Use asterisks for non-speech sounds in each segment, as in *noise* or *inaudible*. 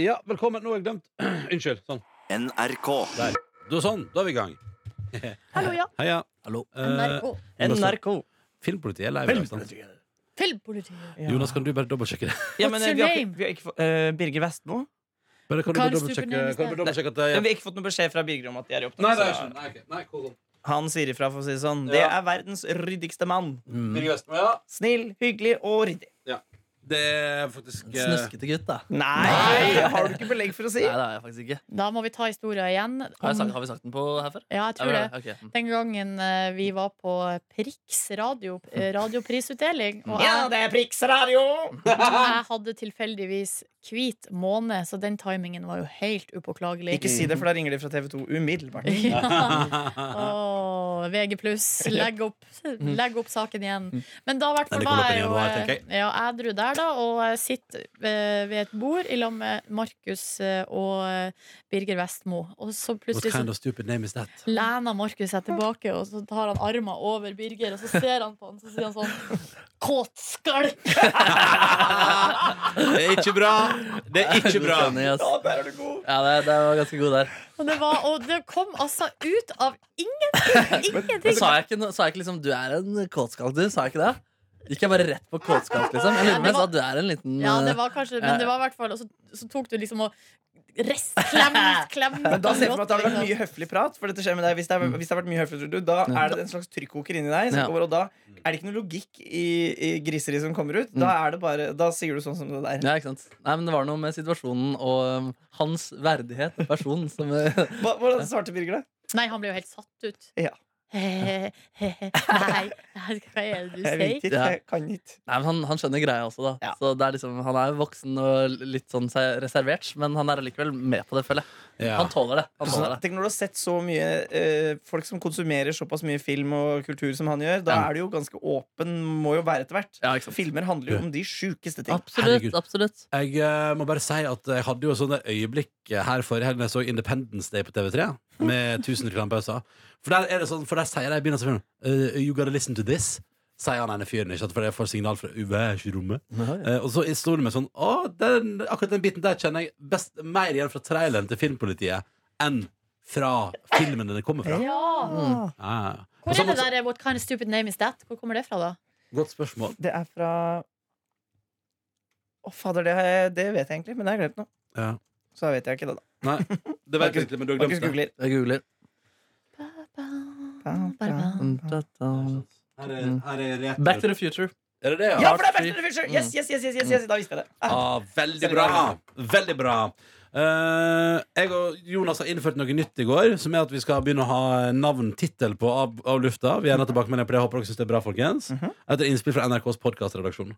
Ja, velkommen. Nå har jeg glemt *clears throat* Unnskyld. Sånn. NRK. Der. Du, sånn. Da er vi i gang. Hallo, ja. Heia. Hallo. Eh, NRK. NRK. Filmpolitiet er lei av det. Filmpolitiet. Filmpolitiet. Ja. Jonas, kan du bare dobbeltsjekke det? *laughs* Ja, men, eh, What's your vi har, ikke- name? vi har ikke fått, eh, Birger Vestmo? Bare, kan du Karl bare dobbeltsjekke Stupenheim kan du bare dobbeltsjekke at det Men er Vi har ikke fått noen beskjed fra Birger om at de er i opptak. Nei, det er så ikke Nei, ok. Nei, cool, cool. han sier ifra, for å si det sånn. Ja. Det er verdens ryddigste mann. Birger Vestmo, ja. Snill, hyggelig og ryddig. Det er faktisk eh, Snuskete gutt, da. Nei, Nei, det har du ikke belegg for å si. det har jeg faktisk ikke. Da må vi ta historia igjen. Har, jeg om- sagt, har vi sagt den på her før? Ja, jeg tror Ja, det. vel, ok. Den gangen eh, vi var på Prix radio, eh, radioprisutdeling, og Ja, jeg, det er Prix Radio! jeg hadde tilfeldigvis hvit måne, så den timingen var jo helt upåklagelig. Ikke si det, for da ringer de fra TV2 umiddelbart. Åh, VG pluss, legg, opp- Mm. legg opp saken igjen. Men da i hvert Den Mm. fall kommer opp var i jeg jo januar, eh, tenker ja, edru der, da, og jeg sitter eh, ved et bord i lag med Markus eh, og eh, Birger Vestmo. Og så What plutselig så kind of stupid name is that? lener Markus seg tilbake, og så tar han armen over Birger, og så ser han på han, så sier han sånn Kåt skalk! Det er ikke bra! Det er ikke bra! Funny, ass. Å, der er du god! Ja, det, det var ganske god der. Og det, var, og det kom altså ut av ingen, Men ingenting! sa jeg ikke, no- sa jeg ikke liksom 'du er en kåtskalk', du? Sa jeg ikke det? Gikk jeg bare rett på kåtskalk, liksom? Jeg Ja, lurer på om jeg sa det var- 'du er en liten Ja, det var kanskje Men det var i hvert fall Og så, så tok du liksom og rest, klem, *laughs* klem Men da ser jeg for meg at det har vært mye høflig prat. For dette skjer med deg Hvis det, er, hvis det har vært mye høflig, tror du, da er det en slags trykkoker inni deg. Som Ja. kommer, og da er det ikke noe logikk i, i griseriet som kommer ut. Da, er det bare, da sier du sånn som det der. Ja, ikke sant? Nei, men Det var noe med situasjonen og um, hans verdighet, person, som *laughs* eh, Hva, hvordan svarte Birger, da? Nei, han ble jo helt satt ut. Ja. *laughs* Nei, hva er det du Jeg sier? vet ikke. Ja. Jeg kan ikke. Nei, men han, han skjønner greia også, da. Ja. Så det er liksom, Han er jo voksen og litt sånn se- reservert, men han er allikevel med på det, føler jeg. *laughs* Ja. Han tåler det. Han tåler det. Tenk når du har sett så mye eh, folk som konsumerer såpass mye film og kultur som han gjør. Da Ja. er du jo ganske åpen. Må jo være etter hvert. Ja, ikke sant? Filmer handler jo om de sjukeste ting. Absolutt. Herregud. absolutt Jeg eh, må bare si at jeg hadde jo sånne øyeblikk eh, her forrige helg da jeg så Independence Day på TV3. Med 1000 reklamepauser. For der er det sånn, for der sier de i begynnelsen av filmen uh, You gotta listen to this. Sier han ene fyren, ikke sant? for jeg får signal fra uværsrommet. Eh, og så sto det med sånn Å, den, akkurat den biten der kjenner jeg best mer igjen fra traileren til Filmpolitiet enn fra filmen den kommer fra. Ja. Mm. Ah, Ja, ja. Hvor er det der eh, What kind of stupid name is that? Hvor kommer det fra, da? Godt spørsmål. Det er fra Å, fader, det, har jeg- det vet jeg egentlig, men jeg har glemt noe. Ja. Så da vet jeg ikke det, da. Nei, det vet jeg ikke, men du har Markus glemt det. googler. Jeg googler. Mm. Her er, her er retro- Back to the future. Er det det, Ja, for det er Back to the Mm. Future! Yes, yes, yes, yes, yes, yes. Da visste jeg det. Ah. Ah, veldig Sorry, bra. Veldig bra. Eh, jeg og Jonas har innført noe nytt i går, som er at vi skal begynne å ha navn, tittel på av, av lufta. Vi er gjerne tilbakemeldinger på det. Jeg håper dere syns det er bra, folkens. Etter innspill fra NRKs podkastredaksjon.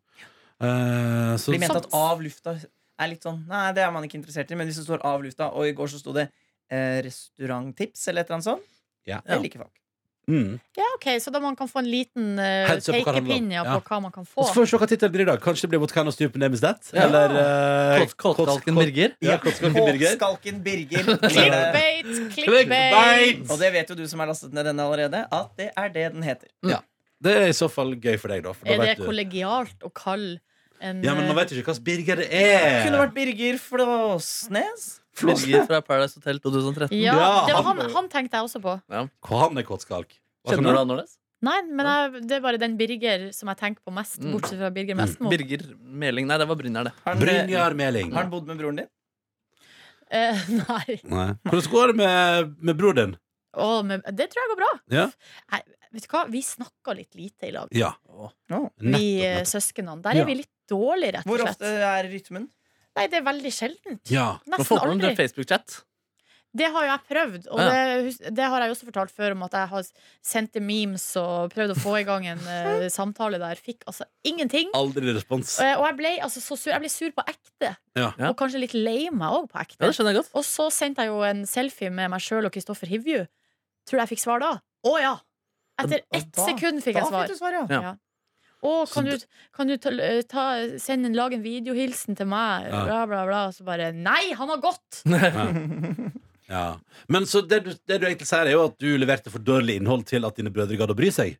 Uh, De mente at av lufta er litt sånn Nei, det er man ikke interessert i, men hvis det står av lufta, og i går så sto det eh, restauranttips eller et eller annet sånt, ja. det liker folk. mm. Ja, ok, Så da man kan få en liten eh, Heads up på hva det handler om. pekepinn ja, Ja. på hva man kan Og få? så får vi se hva tittelen blir i dag. Kanskje det blir What kind of stupid name is that? Eller eh, Kåt- Kåtskalken Kåts- Birger. Ja, Kåtskalken Birger. Kåtskalken Birger. Eh, Clickbait! Clickbait! Og det vet jo du som har lastet ned denne allerede, at det er det den heter. Det er i så fall gøy for deg, da. For da Er det vet du. kollegialt å kalle en Ja, men man eh, vet jo ikke hvilken Birger det Det er. kunne vært Birger Flåsnes. Birger fra Paradise Hotel 2013. eh, ja, Ja, det var han- han, han tenkte jeg også på. Han er kåtskalk. Hva Kjenner skal du det man- annerledes? Nei, men jeg, det er bare den Birger som jeg tenker på mest, Mm. bortsett fra Birger Vestmo. Birger Meling. Nei, det var Brynjar, det. Har han, eh, Brynjar Meling. har han bodd med broren din? Eh, *laughs* nei. Nei. Hvordan går det med, med bror din? Å, men det tror jeg går bra. Ja. Nei, vet du hva? Vi snakker litt lite i lag, Ja. Å. vi eh, søsknene. Der er Ja. vi litt dårlige, rett Hvor og ofte slett. er rytmen? Nei, det er veldig sjeldent. eh, Ja. Nå Nesten får man aldri. en Facebook-chat. Det har jo jeg prøvd, og Ja. det, hus- det har jeg jo også fortalt før om at jeg har sendt memes og prøvd å få i gang en eh, samtale der. Fikk altså ingenting. Aldri respons. Eh, og jeg ble, altså, så sur, jeg ble sur på ekte, Ja. Ja. og kanskje litt lei meg òg på Ja, ekte. det skjønner jeg *laughs* godt. Og så sendte jeg jo en selfie med meg sjøl og Kristoffer Hivju. Tror du jeg fikk svar da? Å ja! Etter Og ett sekund fikk Da jeg svar. fikk du svar, ja. Å, Så kan du, kan du ta, eh, ta, sende, en- lage en videohilsen til meg? Ja. Bla, bla, bla. Og så bare Nei, han har gått! Ja. Men så det du, det du egentlig sier, er jo at du leverte for dårlig innhold til at dine brødre gadd å bry seg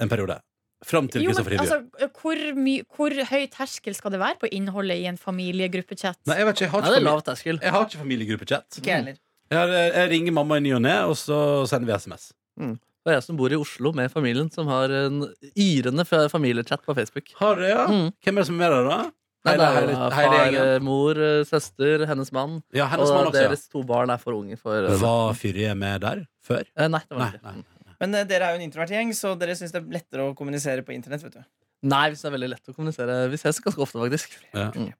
en periode. Fram til Jo, men Kristoffer Hivju. altså, hvor, my, hvor høy terskel skal det være på innholdet i en familiegruppechat? Nei, jeg vet ikke, jeg har Nei, ikke, det er familie, lav terskel. jeg har ikke familiegruppechat. Ikke jeg heller. Jeg, har, eh, jeg ringer mamma i ny og ne, og så sender vi SMS. Det er jeg som bor i Oslo med familien, som har en yrende fra familiechat på Facebook. Har du, ja? Mm. Hvem er det som er med deg, da? Nei, det er Hele- jo hele far, eh, gjengen. mor, søster, hennes mann. Ja, hennes og mann også, deres to barn er for unge for ja. Var Fyrje med der før? Eh, Nei, det var Nei. ikke nei. det. Men eh, dere er jo en introvert gjeng, så dere syns det er lettere å kommunisere på internett. vet du Nei, hvis det er veldig lett å kommunisere. Vi ses ganske ofte, faktisk. Ja. Mm.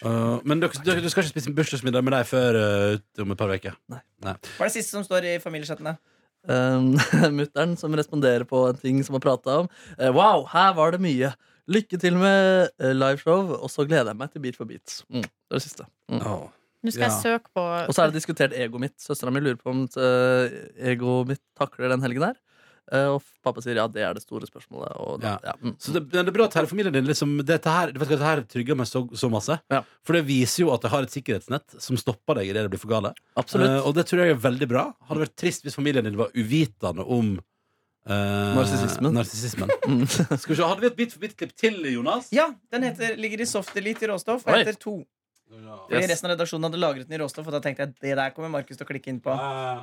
Uh, men dere, dere, du skal ikke spise bursdagsmiddag med deg før uh, om et par uker? Hva er det siste som står i familiechattene? *laughs* Um, Mutter'n som responderer på en ting som er prata om. Eh, Wow, her var det mye! Lykke til med eh, liveshow, og så gleder jeg meg til Beat for beat. Mm. Det er det siste. Mm. Åh. Nå skal Ja. jeg søke på Og så er det diskutert egoet mitt. Søstera mi lurer på om eh, egoet mitt takler den helgen her. Eh, og pappa sier ja, det er det store spørsmålet. Og da, ja. mm. Så det, men det er bra at hele familien din liksom, dette, her, vet du, hva, dette her trygger meg så, så masse. Ja. For det viser jo at jeg har et sikkerhetsnett som stopper deg idet det blir for gale. Absolutt. Eh, og det tror jeg er veldig bra. Hadde vært trist hvis familien din var uvitende om uh, Narsissismen. Mm. Skal vi se, Hadde vi et bit for bit-klipp til, Jonas? Ja, Den heter, ligger i soft elite i råstoff og Oi. heter to. Ja. Fordi Yes. Resten av redaksjonen hadde lagret den i råstoff, og da tenkte jeg det der kommer Markus til å klikke inn på. Eh,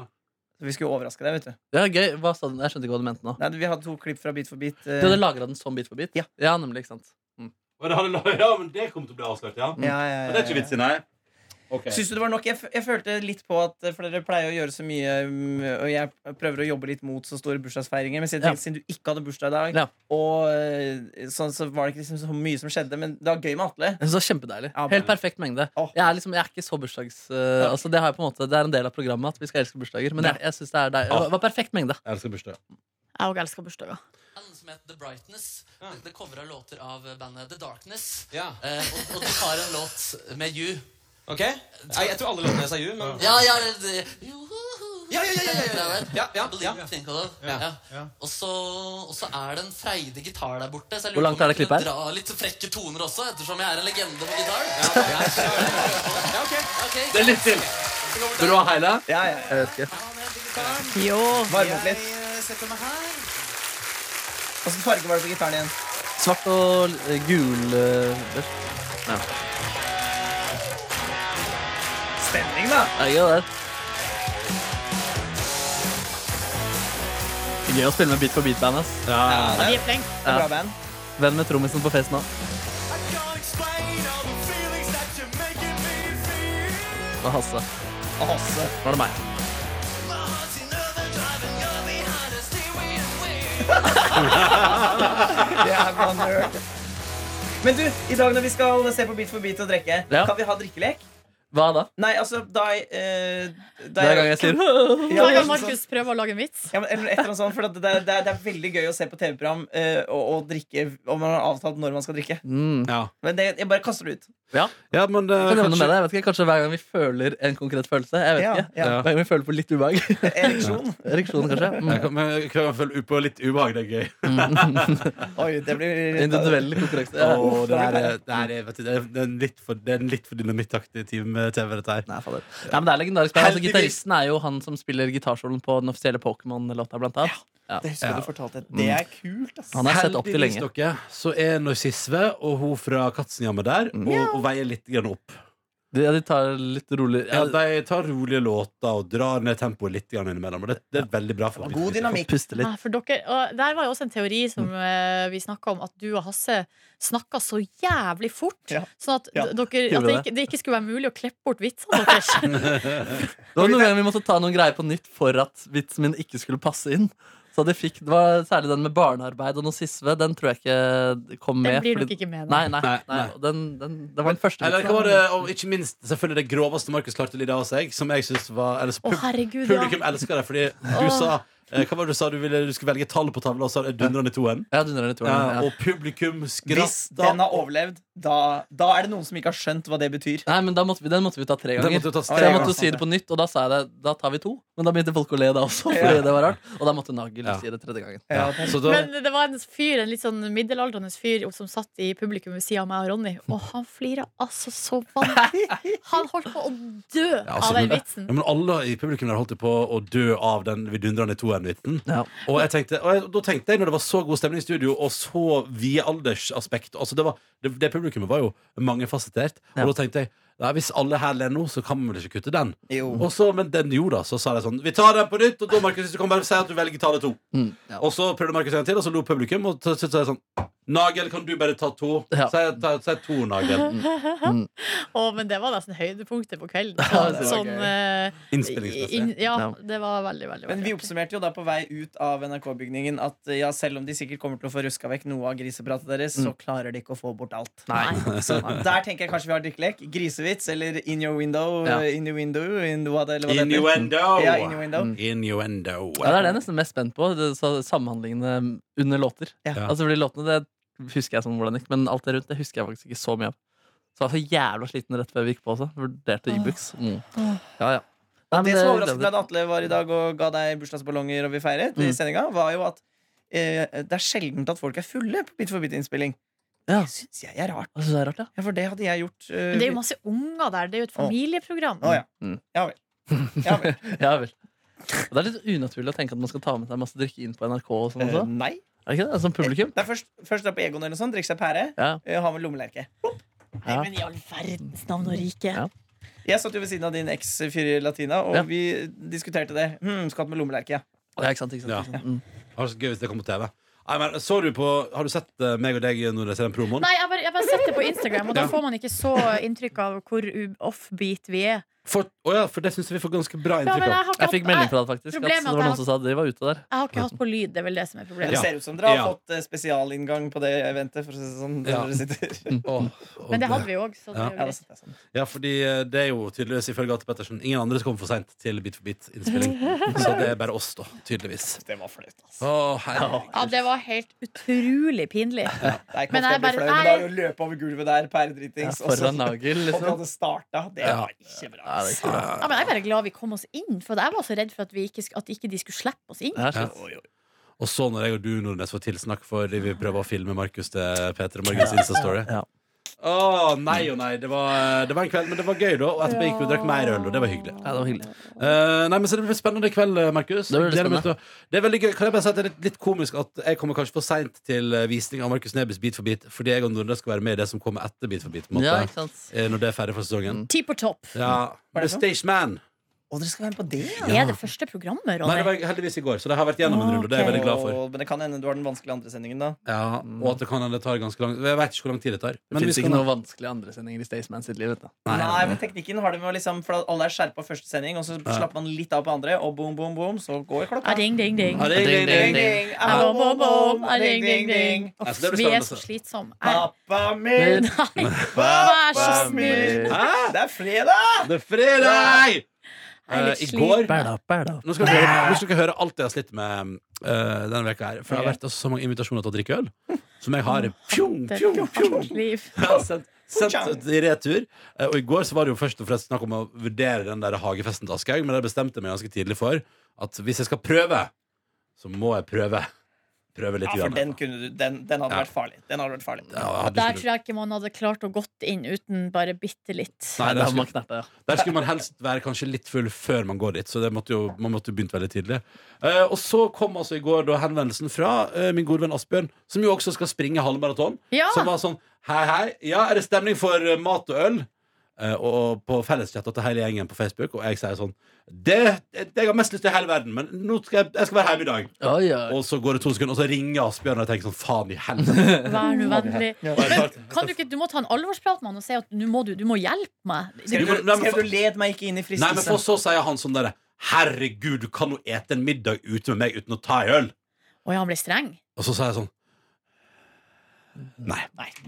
Så vi skulle overraske deg, vet du. Det er gøy. Hva sa du? Jeg skjønte ikke hva du mente nå. Nei, vi hadde to klipp fra Bit for bit. eh, Du hadde lagra den sånn bit for bit? Ja. nemlig, ikke sant? Men det hadde- ja, men det kommer til å bli avslørt, ja. mm. ja, ja, ja, Men det er ikke ja. vits i, nei. Ok. Syns du det var nok? Jeg, f jeg følte litt på at eh, For dere pleier å gjøre så mye, mm, og jeg prøver å jobbe litt mot så store bursdagsfeiringer. Men siden, Ja. siden du ikke hadde bursdag i dag, Ja. og eh, sånn, så var det ikke liksom så mye som skjedde. Men det var gøy med Jeg Atle. synes det var Kjempedeilig. Ja, men- Helt perfekt mengde. Åh. Jeg er liksom, jeg er ikke så bursdags... eh, altså det, har jeg på en måte, det er en del av programmet at vi skal elske bursdager. Men jeg, jeg synes det er deilig. Ja. Det var perfekt mengde. Jeg elsker bursdag. Jeg òg elsker bursdager. band som heter The Brightness. Det, det coverer låter av bandet The Darkness. Eh, og, og de har en låt med You. Ok? Nei, jeg tror alle låtene hennes er You, men Ja, ja, det, det, Juhu. Ja, ja, ja, ja, ja, ja. Det er det. Ja, ja, I believe ja. I think I love. Ja, Ja. ja. Og så og så er det en freidig gitar der borte. Så jeg Hvor langt på om er det jeg kunne klippet her? Dra litt frekke toner også, ettersom jeg er en legende på gitar. ja, ok. Ok. Det er litt til! Vil du ha heile? Ja, ja, ja. Jeg vet ikke. Jo! Varme opp litt. Jeg setter meg her. Åssen farge var det på gitaren igjen? Svart og eh, gul eh, Stemning, da! Det er gøy, det. Det er Gøy å spille med Beat for beat-band. ass. Ja. Ja, de er flinke. Det er bra band. Venn med trommisen på fest nå. Det var Hasse. Og Hasse. Nå er det meg. Det er bra nerd. Men du, i dag når vi skal se på Bit for bit og drikke, Ja. kan vi ha drikkelek? Hva da? Nei, altså da, jeg, eh, da Hver gang jeg sier «Åh». *laughs* Ja, Hver gang sånn- Markus prøver å lage en vits. Ja, men, eller et eller annet sånt, for det, det, det, er, det er veldig gøy å se på TV-program eh, og, og drikke om man har avtalt når man skal drikke. mm. Ja. Men det, jeg bare kaster det ut. ja, men det, Jeg kan nevne kanskje- med deg, jeg vet ikke, Kanskje hver gang vi føler en konkret følelse. Jeg vet Ja, ikke. ja. Hver gang vi føler på litt ubehag. *laughs* Ereksjon. Ereksjon, kanskje. Jeg Mm. kan- men jeg kan føle på litt ubehag, det er gøy. Oi, det blir Individuell konkurranse. Ja. Åh, det, her er, det, her er, vet du, det er- det er en litt for, det er en litt for dynamitt-aktig time med TV, dette her. Nei, fader. Nei, men det er legendarisk. band. Altså, Heldigvis. Gitaristen er jo han som spiller gitarsoloen på den offisielle Pokémon-låta, blant annet. Det husker jeg du fortalte. Det er kult, ass. Han har jeg sett opp til Heldigvis, lenge. dere, så er Narsisve og hun fra Katzenjammer der, Mm. og, og veier litt grann opp. De, ja, de tar litt rolig Ja, ja, de tar rolige låter og drar ned tempoet litt grann innimellom. og Det, det er veldig bra. for God dynamikk. Puste litt. Mm. Nei, for dere, og der var jo også en teori som eh, vi snakka om, at du og Hasse snakka så jævlig fort. Ja. Sånn at, Ja. d- Gjorde dere, at det, det? ikke, det ikke skulle være mulig å klippe bort vitsene deres. Det var noen ganger vi måtte ta noen greier på nytt for at vitsen min ikke skulle passe inn. Så det, fikk, det var Særlig den med barnearbeid og nazisme. Den tror jeg ikke kom med. Den blir nok fordi- ikke med nå. Nei, nei, Nei, nei. nei. og Den, den, det var den første. Eller vitsen. hva var det, og ikke minst selvfølgelig det groveste Markus klarte å lide av seg, som jeg synes var eller, Å, pub herregud, ja. Publikum elsker det, fordi du Åh. sa eh, Hva var det du sa? Du, ville, du skulle velge tall på tavla, og så dundra den i toen. Ja, du nærmer deg to år, Ja, ja. og publikum Hvis skratta. den har overlevd, da, da er det noen som ikke har skjønt hva det betyr. Nei, men da måtte vi, Den måtte vi ta tre Den ganger. måtte jo tas Så jeg tre Ja, måtte jo ganger. sant si det det. på nytt, og da sa jeg det. Da tar vi to. Men da begynte folk å le da også. Fordi det var rart Og da måtte Nagel Ja. si det tredje gangen. Ja, Ja, det- så da, Men det var en fyr, en litt sånn middelaldrende fyr som satt i publikum ved sida av meg og Ronny, og han flira altså så vanvittig. Han holdt på å dø altså, av den men- vitsen. ja, men alle i publikum der holdt jo på å dø av den vidundrende toeren. Lønnhytten. Ja. Og, jeg tenkte, og jeg, da tenkte jeg, når det var så god stemning i studio, og så vide aldersaspekt altså det, var, det, det publikummet var jo mangefasettert. Ja. Og da tenkte jeg Nei, hvis alle her ler nå, så kan vi vel ikke kutte den. Jo. Og så, men den gjorde det. Så sa de sånn Vi tar den på nytt, og da Markus, hvis du kan bare si at du velger tale to. Mm, ja. Og så prøvde Markus en gang til, og så lo publikum. Og så syntes jeg sånn Nagel, kan du bare ta to? Ja. Si, ta, si to, *laughs* Nagel. Å, men det var nesten høydepunktet på kvelden. Ja, det var sånn, eh, Innspillingsmessig. inn- ja, Ja. det var veldig, veldig, Men veldig vi artig. oppsummerte jo da på vei ut av NRK-bygningen at ja, selv om de sikkert kommer til å få ruska vekk noe av grisepratet deres, så klarer de ikke å få bort alt. Nei. Så der tenker jeg kanskje vi har drikkelek. Grisevits eller In your window. Ja. eh, In your window in the, what, eller hva det heter. Innuendo. Ja, innuendo. Mm. Innuendo. Ja, det er det jeg er nesten mest spent på. Det, så, samhandlingene under låter. Ja. Altså, fordi låtene det husker jeg sånn hvordan det gikk, men alt det rundt det husker jeg faktisk ikke så mye av. Så jeg var så jævla sliten rett før vi gikk på også. Vurderte Ibux. Mm. Ja, ja. Nei, men Det som det- overrasket meg da Atle var i dag og ga deg bursdagsballonger og vi feiret, Mm. i sendinga, var jo at eh, det er sjelden at folk er fulle på Bit for bit-innspilling. Ja. Det syns jeg er rart. Jeg synes det er rart, ja. Ja, for det hadde jeg gjort. eh, Men det er jo masse unger der. Det er jo et Å. familieprogram. Å ja. Mm. Ja vel. Ja vel. Ja vel. Og det er litt unaturlig å tenke at man skal ta med seg masse drikke inn på NRK og sånn *laughs* også. Eh, nei. Er det ikke det? Som publikum. Det er først, først dra på Egon eller noe sånt, drikke seg pære, Ja. eh, ha med lommelerke. Nei, men i all verdens navn og rike. Ja. Jeg satt jo ved siden av din eks-fyr Latina, og Ja. vi diskuterte det. Hm, skal ha med lommelerke, ja. ja, ikke sant, ikke sant, Ja. ikke sant. Mm. Det var så gøy hvis det kom på TV. Nei, men, så du på, har du sett eh, meg og deg når jeg ser den promoen? Nei, jeg bare, jeg bare setter det på Instagram, og da Ja. får man ikke så inntrykk av hvor u- offbeat vi er. For, å ja, for det syns jeg vi får ganske bra Ja, men inntrykk av. har ikke Jeg fikk hatt- melding fra deg, faktisk. At det Problemet er var at jeg noen som sa at de var ute der. Jeg har ikke hatt på lyd, det er vel det som er Det problemet. Ja. ser ut som dere har Ja. fått eh, spesialinngang på det eventet. For å si det sånn, der Ja. dere sitter. Og Men det det- hadde vi jo òg, så altså, det Ja. er jo Ja, da greit. sitter jeg sånn. Ja, fordi eh, det er jo tydeligvis ifølge Atte Pettersen ingen andre som kommer for seint til Bit for *laughs* bit-innspilling. Så det er bare oss, da. Tydeligvis. Det var flaut, altså. Å, herregud. Ja, det var helt utrolig pinlig. Det er ikke Men ofte jeg jeg blir bare- flau, men da er det å løpe over gulvet der Ja, pæredritings, og så- foran Nagel, og vi liksom. hadde starta. Det Ja. var ikke bra. Ja, det er ikke bra. Ja, men jeg er bare glad vi kom oss inn, for jeg var så redd for at, vi ikke, sk- at ikke de skulle slippe oss inn. Det er shit. Ja. Og så når jeg og du, Nordnes, får tilsnakk for vi prøver å filme Markus til Peter og Markus Insta-story. Ja. Å nei og nei. Det var, det var en kveld, men det var gøy, da. Og etterpå gikk vi og drakk mer øl, og det var hyggelig. Ja, det var hyggelig. Eh, nei, men så Det blir spennende i kveld, eh, Markus. Det blir veldig Gleder meg til å- det er veldig gøy. Kan jeg bare si at det er litt, litt komisk at jeg kommer kanskje for seint til eh, visning av Markus Nebys Bit for bit, fordi jeg og Nordnes skal være med i det som kommer etter Bit for bit. På en måte. Ja, Mm. ikke sant. Eh, Når det er ferdig for sesongen. Ti på topp. Ja, Hva The er det for Stage Man. Og dere skal være med på det, ja? Er det første programmet, Nei, det Ronny? var heldigvis i går, så det har vært gjennom Ah, en runde. og Det er jeg veldig glad for. Og- Men det kan hende du har den vanskelige andre sendingen, da. Ja, og at det kan hende det tar ganske lang Jeg vet ikke hvor lang tid det tar. Det vi fins skal ikke nå- noe vanskelig andre sendinger i Staysman sitt liv. Vet du. Nei, Nei, nei, men teknikken har det med å liksom For alle er skjerpa første sending, og så slapper man litt av på andre, og boom, boom, boom, så går klokka. Ja, ding, ding, ding. Ja, det, det, det, Ding, det. ding, Ja, bom, bom, bom. Ja, Ding, ding, ding. Ja, Uff, så det blir sånn altså. Vi er spennende. så slitsomme. Jeg- Pappa min, Nei, vær så Bæ, snill. Hæ? det er fredag! Ah, Det er fredag! Jeg er litt Eh, I går da, bæ, da. Nå skal dere høre, nå skal dere høre alt jeg har slitt med eh, denne veka her. For det har vært altså, så mange invitasjoner til å drikke øl. Som jeg har pjong, Det er pjong, et pjong, hardt liv. Jeg har sendt, sendt i retur. Eh, Og i går så var det jo først og fremst snakk om å vurdere den der hagefesten til Aschehoug, men det bestemte jeg meg ganske tidlig for at hvis jeg skal prøve, så må jeg prøve. Prøve litt. Ja, for grann. den kunne du Den, den hadde Ja. vært farlig. Den hadde vært farlig. Ja, jeg hadde Der ikke- tror jeg ikke man hadde klart å gått inn uten bare bitte litt. Nei, Da der har man skulle, knerta, ja. der skulle man helst være kanskje litt full før man går dit, så det måtte jo, man måtte jo begynt veldig tidlig. Eh, og så kom altså i går da henvendelsen fra eh, min gode venn Asbjørn, som jo også skal springe halvmaraton. Ja, Som var sånn Hei, hei, ja, er det stemning for eh, mat og øl? Eh, og, og på felleschatta til hele gjengen på Facebook, og jeg sier sånn Det, det jeg har mest lyst til i hele verden, men nå skal jeg, jeg skal være hjemme i dag. Oi, oi. Og så går det to sekunder, og så ringer Asbjørn, og jeg tenker sånn Faen i helvete. *laughs* vær nå vennlig. Og jeg tar- Kan du, ikke, du må ta en alvorsprat med han og si at nå må du, du må hjelpe meg. Du Skrev må- du, nei, men skrev for- du 'led meg ikke inn i Nei, men fristelse'? for så sier han sånn derre Herregud, du kan jo ete en middag ute med meg uten å ta en øl. Å ja, han ble streng. Og så sier jeg sånn Nei.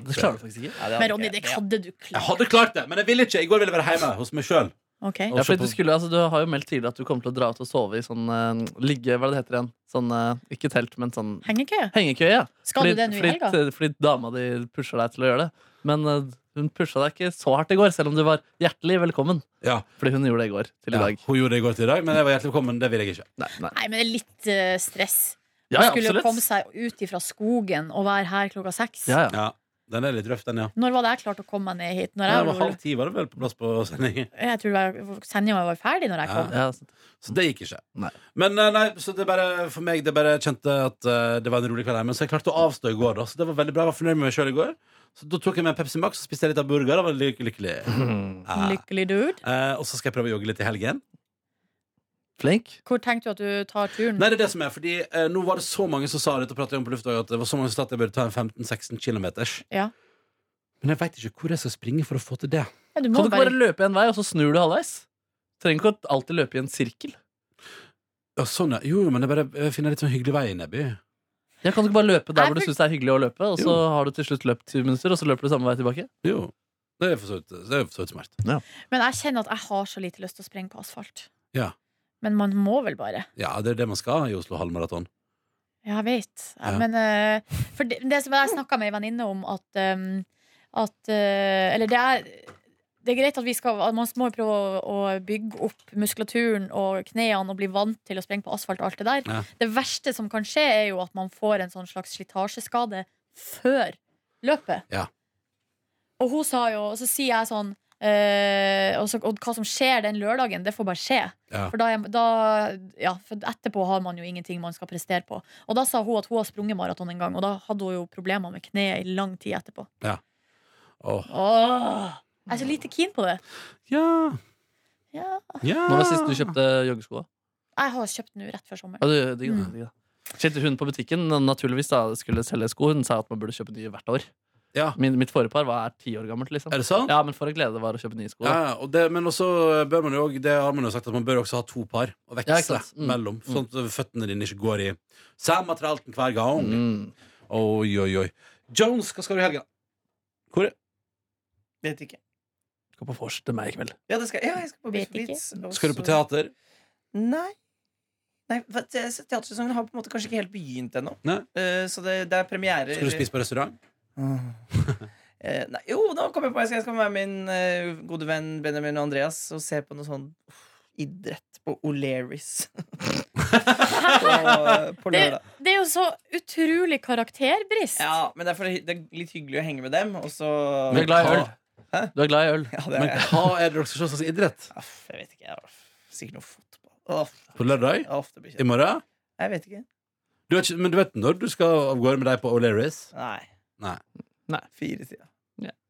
Det klarer du faktisk ikke. Ja, det hadde Men Ronny, ikke- det ja. hadde du Jeg klart. hadde klart det, men jeg ville ikke. I går ville jeg være hjemme hos meg sjøl. Ok. Ja, fordi du, skulle, altså, du har jo meldt tidligere at du kommer til å dra ut og sove i sånn eh, ligge... Hva er det det heter igjen? Sånn, eh, ikke telt, men sånn Hengekøye? hengekøye. Ja. Skal du det nå i fordi, eh, helga? fordi, fordi dama di pusher deg til å gjøre det. Men eh, hun pusha deg ikke så hardt i går, selv om du var hjertelig velkommen. Ja. Fordi hun gjorde det i går til i Ja, dag. hun gjorde det i går til i dag, men jeg var hjertelig velkommen. Det vil jeg ikke. Nei, nei. Nei, men det er litt eh, stress. Ja, ja, Skulle komme absolutt. seg ut ifra skogen og være her klokka seks. Ja, ja. Ja. Den er litt røff, den, ja. Når var det jeg klarte å komme meg ned hit? Når Det jeg, var halv ti var det vel på plass på sending. jeg tror det var- sendinga var ferdig når jeg Ja. kom. Ja, sant. Så det gikk ikke. Nei. Men eh, nei, så det bare for meg Det bare kjente at eh, det var en rolig kveld her. Men så jeg klarte å avstå i går, da. Så det var veldig bra. Jeg var fornøyd med meg sjøl i går. Så da tok jeg meg en Pepsi Max og spiste jeg litt av burger. Da var jeg lyk- lykkelig. *laughs* Ja. Lykkelig dude. Eh, og så skal jeg prøve å jogge litt i helgen. Flink. Hvor tenkte du at du tar turen? Nei, det er det som er, fordi eh, nå var det så mange som sa det, og pratet jeg om på lufta, også, at det var så mange som sa at jeg burde ta en 15-16 kilometers. Ja. Men jeg veit ikke hvor jeg skal springe for å få til det. Ja, Kan du du må ikke bare bare løpe en vei, og så snur du halvveis? Trenger ikke å alltid løpe i en sirkel. Ja, sånn, ja. Jo, jo, men jeg bare eh, finner litt sånn hyggelig vei i Nebby. Ja, kan du ikke bare løpe der Nei, hvor du for- syns det er hyggelig å løpe, og så Jo. har du til slutt løpt 20 minutter, og så løper du samme vei tilbake? Jo. Det er for så vidt- det er for så vidt smart. Men jeg kjenner at jeg har så lite lyst til å sprenge på asfalt. Ja. Men man må vel bare. Ja, det er det man skal i Oslo halvmaraton. Ja, jeg vet. Ja, Ja. Men eh, for det, det som jeg snakka med ei venninne om, at, eh, at eh, Eller det er det er greit at vi skal, at man må jo prøve å, å bygge opp muskulaturen og knærne og bli vant til å sprenge på asfalt og alt det der. Ja. Det verste som kan skje, er jo at man får en sånn slags slitasjeskade før løpet. Ja. Og hun sa jo, og så sier jeg sånn eh, og, så, og hva som skjer den lørdagen, det får bare skje. Ja. For, da, er- da, ja, for etterpå har man jo ingenting man skal prestere på. Og da sa hun at hun har sprunget maraton en gang, og da hadde hun jo problemer med kneet i lang tid etterpå. Åh. Åh, jeg er så lite keen på det. Ja, Ja. ja. Nå var sist du kjøpte joggeskoa. Jeg har kjøpt den nå rett før sommeren. Ja, du, digg, Mm. da, digg, da. Kjente hun på butikken naturligvis da skulle selge sko. Hun sa at man burde kjøpe nye hvert år. Ja. Min, mitt forrige par var ti år gammelt. liksom Er det sant? Ja, Men for en glede det var å kjøpe nye sko. Ja, da. ja, og det, men også bør man jo også- Det har man jo sagt at man bør også ha to par og Ja, veksle ikke sant? Mm. mellom, sånn at føttene dine ikke går i samme tralten hver gang. Mm. Oi, oi, oi. Jones, hva skal du i helga? Hvor er Vet ikke. Gå på vors til meg i kveld. Ja, det skal, ja, jeg skal på Vet Beats for Beats, og Skal du på så- teater? Nei. Nei, for te- Teatersesongen har på en måte kanskje ikke helt begynt ennå. Nei. Eh, så det, det er premiere Skal du spise på restaurant? *laughs* Eh, nei, jo, nå kommer jeg på jeg skal, jeg skal være med min eh, gode venn Benjamin og Andreas og se på noe sånn uff, idrett på O'Learys. *laughs* på, eh, på lørdag. Det er jo så utrolig karakterbrist. Ja, men det er, fordi det er litt hyggelig å henge med dem, og så Du er glad i øl. Hæ? Du er glad i øl. Ja, det Men er, hva er det dere skal se slags idrett? Aff, jeg vet ikke. jeg har Sikkert noe fotball. Aff, På lørdag? aff, det blir I kjedelig. morgen? Jeg vet ikke. Du vet, ikke- men du vet når du skal av gårde med deg på O'Learys? Nei. Nei. Fire tida.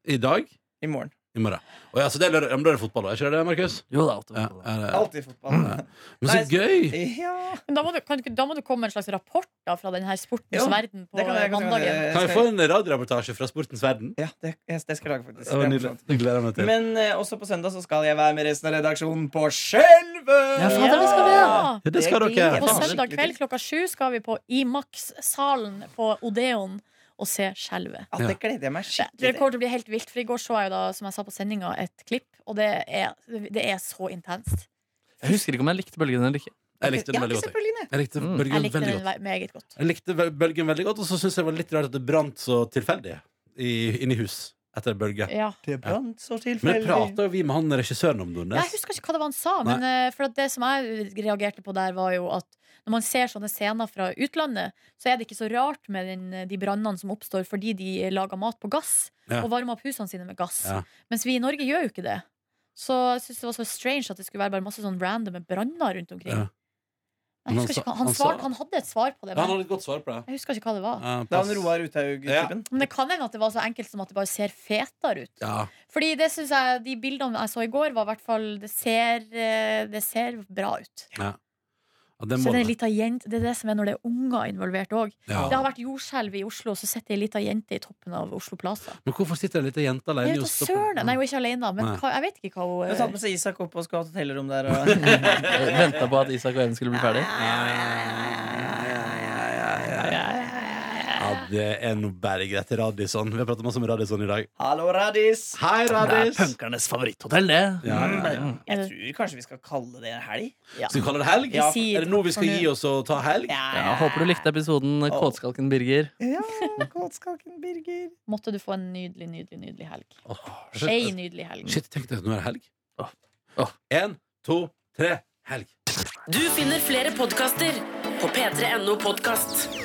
I dag? I morgen. I morgen. Å ja, så det er lørdag. Ja, Men da er det fotball, da? Er ikke det det, Markus? Jo da, åtte Ja, minutter. er det- Alltid fotball. Men så gøy! Ja. Men Da, må du, kan, du ikke- da må du komme med en slags rapport da, fra denne sportens Jo, verden på Det kan jeg, kan jeg, mandagen. Kan vi få en radioreportasje fra sportens verden? Ja, det, jeg- det skal jeg lage, faktisk. Å, Det er nydelig. morsomt. Det gleder jeg meg til. Men eh, også på søndag så skal jeg være med resten av redaksjonen på Skjelvet! Ja, Ja, det skal vi ha. Ja, det skal Det dere. gleder På Ja, faen, søndag skikkelig kveld digg. klokka sju skal vi på Imax-salen på Odeon og se Skjelvet. Ja, det gleder jeg meg Det tror skikkelig jeg til. kommer til å bli helt vilt, for i går så jeg jo da, som jeg sa på sendinga, et klipp, og det er, det er så intenst. Jeg husker ikke om jeg likte bølgene eller ikke. Jeg likte den Ja, veldig ikke godt. se jeg. på linje. Jeg likte Mm. bølgen Jeg likte veldig den godt. ve- meget godt. Jeg likte vel- bølgen veldig godt, og så syns jeg det var litt rart at det brant så tilfeldig i, inni hus etter bølge. Ja. Det brant så Men det tilfeldig. prata jo vi med han regissøren om, Nordnes. Jeg husker ikke hva det var han sa, men eh, for at det som jeg reagerte på der, var jo at når man ser sånne scener fra utlandet, så er det ikke så rart med den, eh, de brannene som oppstår fordi de lager mat på gass Ja. og varmer opp husene sine med gass. Ja. Mens vi i Norge gjør jo ikke det. Så jeg synes det var så strange at det skulle være bare masse sånn randome branner rundt omkring. Ja. Men Jeg husker han ikke, sa- hva- han, han sa- svarte, han hadde et svar på det, Ja, han men hadde et godt svar på det. jeg husker ikke hva det var. Ja, Det er pass. han Roar Uthaug-typen. Men det kan hende at det var så enkelt som at det bare ser fetere ut. Ja. Fordi det synes jeg, de bildene jeg så i går, var i hvert fall Det ser, eh, det ser bra ut. Ja, det Så må det, er det. en liten jent, det er det som er når det er unger involvert òg. Ja. Det har vært jordskjelv i Oslo, så sitter ei lita jente i toppen av Oslo Plaza. Men hvorfor sitter det ei lita jente Jeg alene i vet da Oslo? søren! Nei, hun er ikke alene, men Nei. hva, jeg vet ikke hva hun Hun satt med eh, seg Isak opp og skulle ha et hotellrom *laughs* der. Og... Venta på at Isak og Even skulle bli ferdig. Ja, det er nå bare greit. Radisson. Vi har pratet masse om Radisson i dag. Hallo, Radis! Hei, Det er Radis! punkernes favoritthotell, det. Ja, ja, ja. Jeg tror kanskje vi skal kalle det en helg. ja. Skal vi kalle det helg? Vi sier Er det nå vi skal takk for gi oss og ta helg? Ja, håper du likte episoden Kåtskalken Birger. Ja, Kåtskaken Birger. Måtte du få en nydelig, nydelig, nydelig helg. Åh, Ei shit. nydelig helg. Shit, tenk deg at nå er det helg. Åh. Åh. En, to, tre, helg. Du finner flere podkaster på p3.no podkast.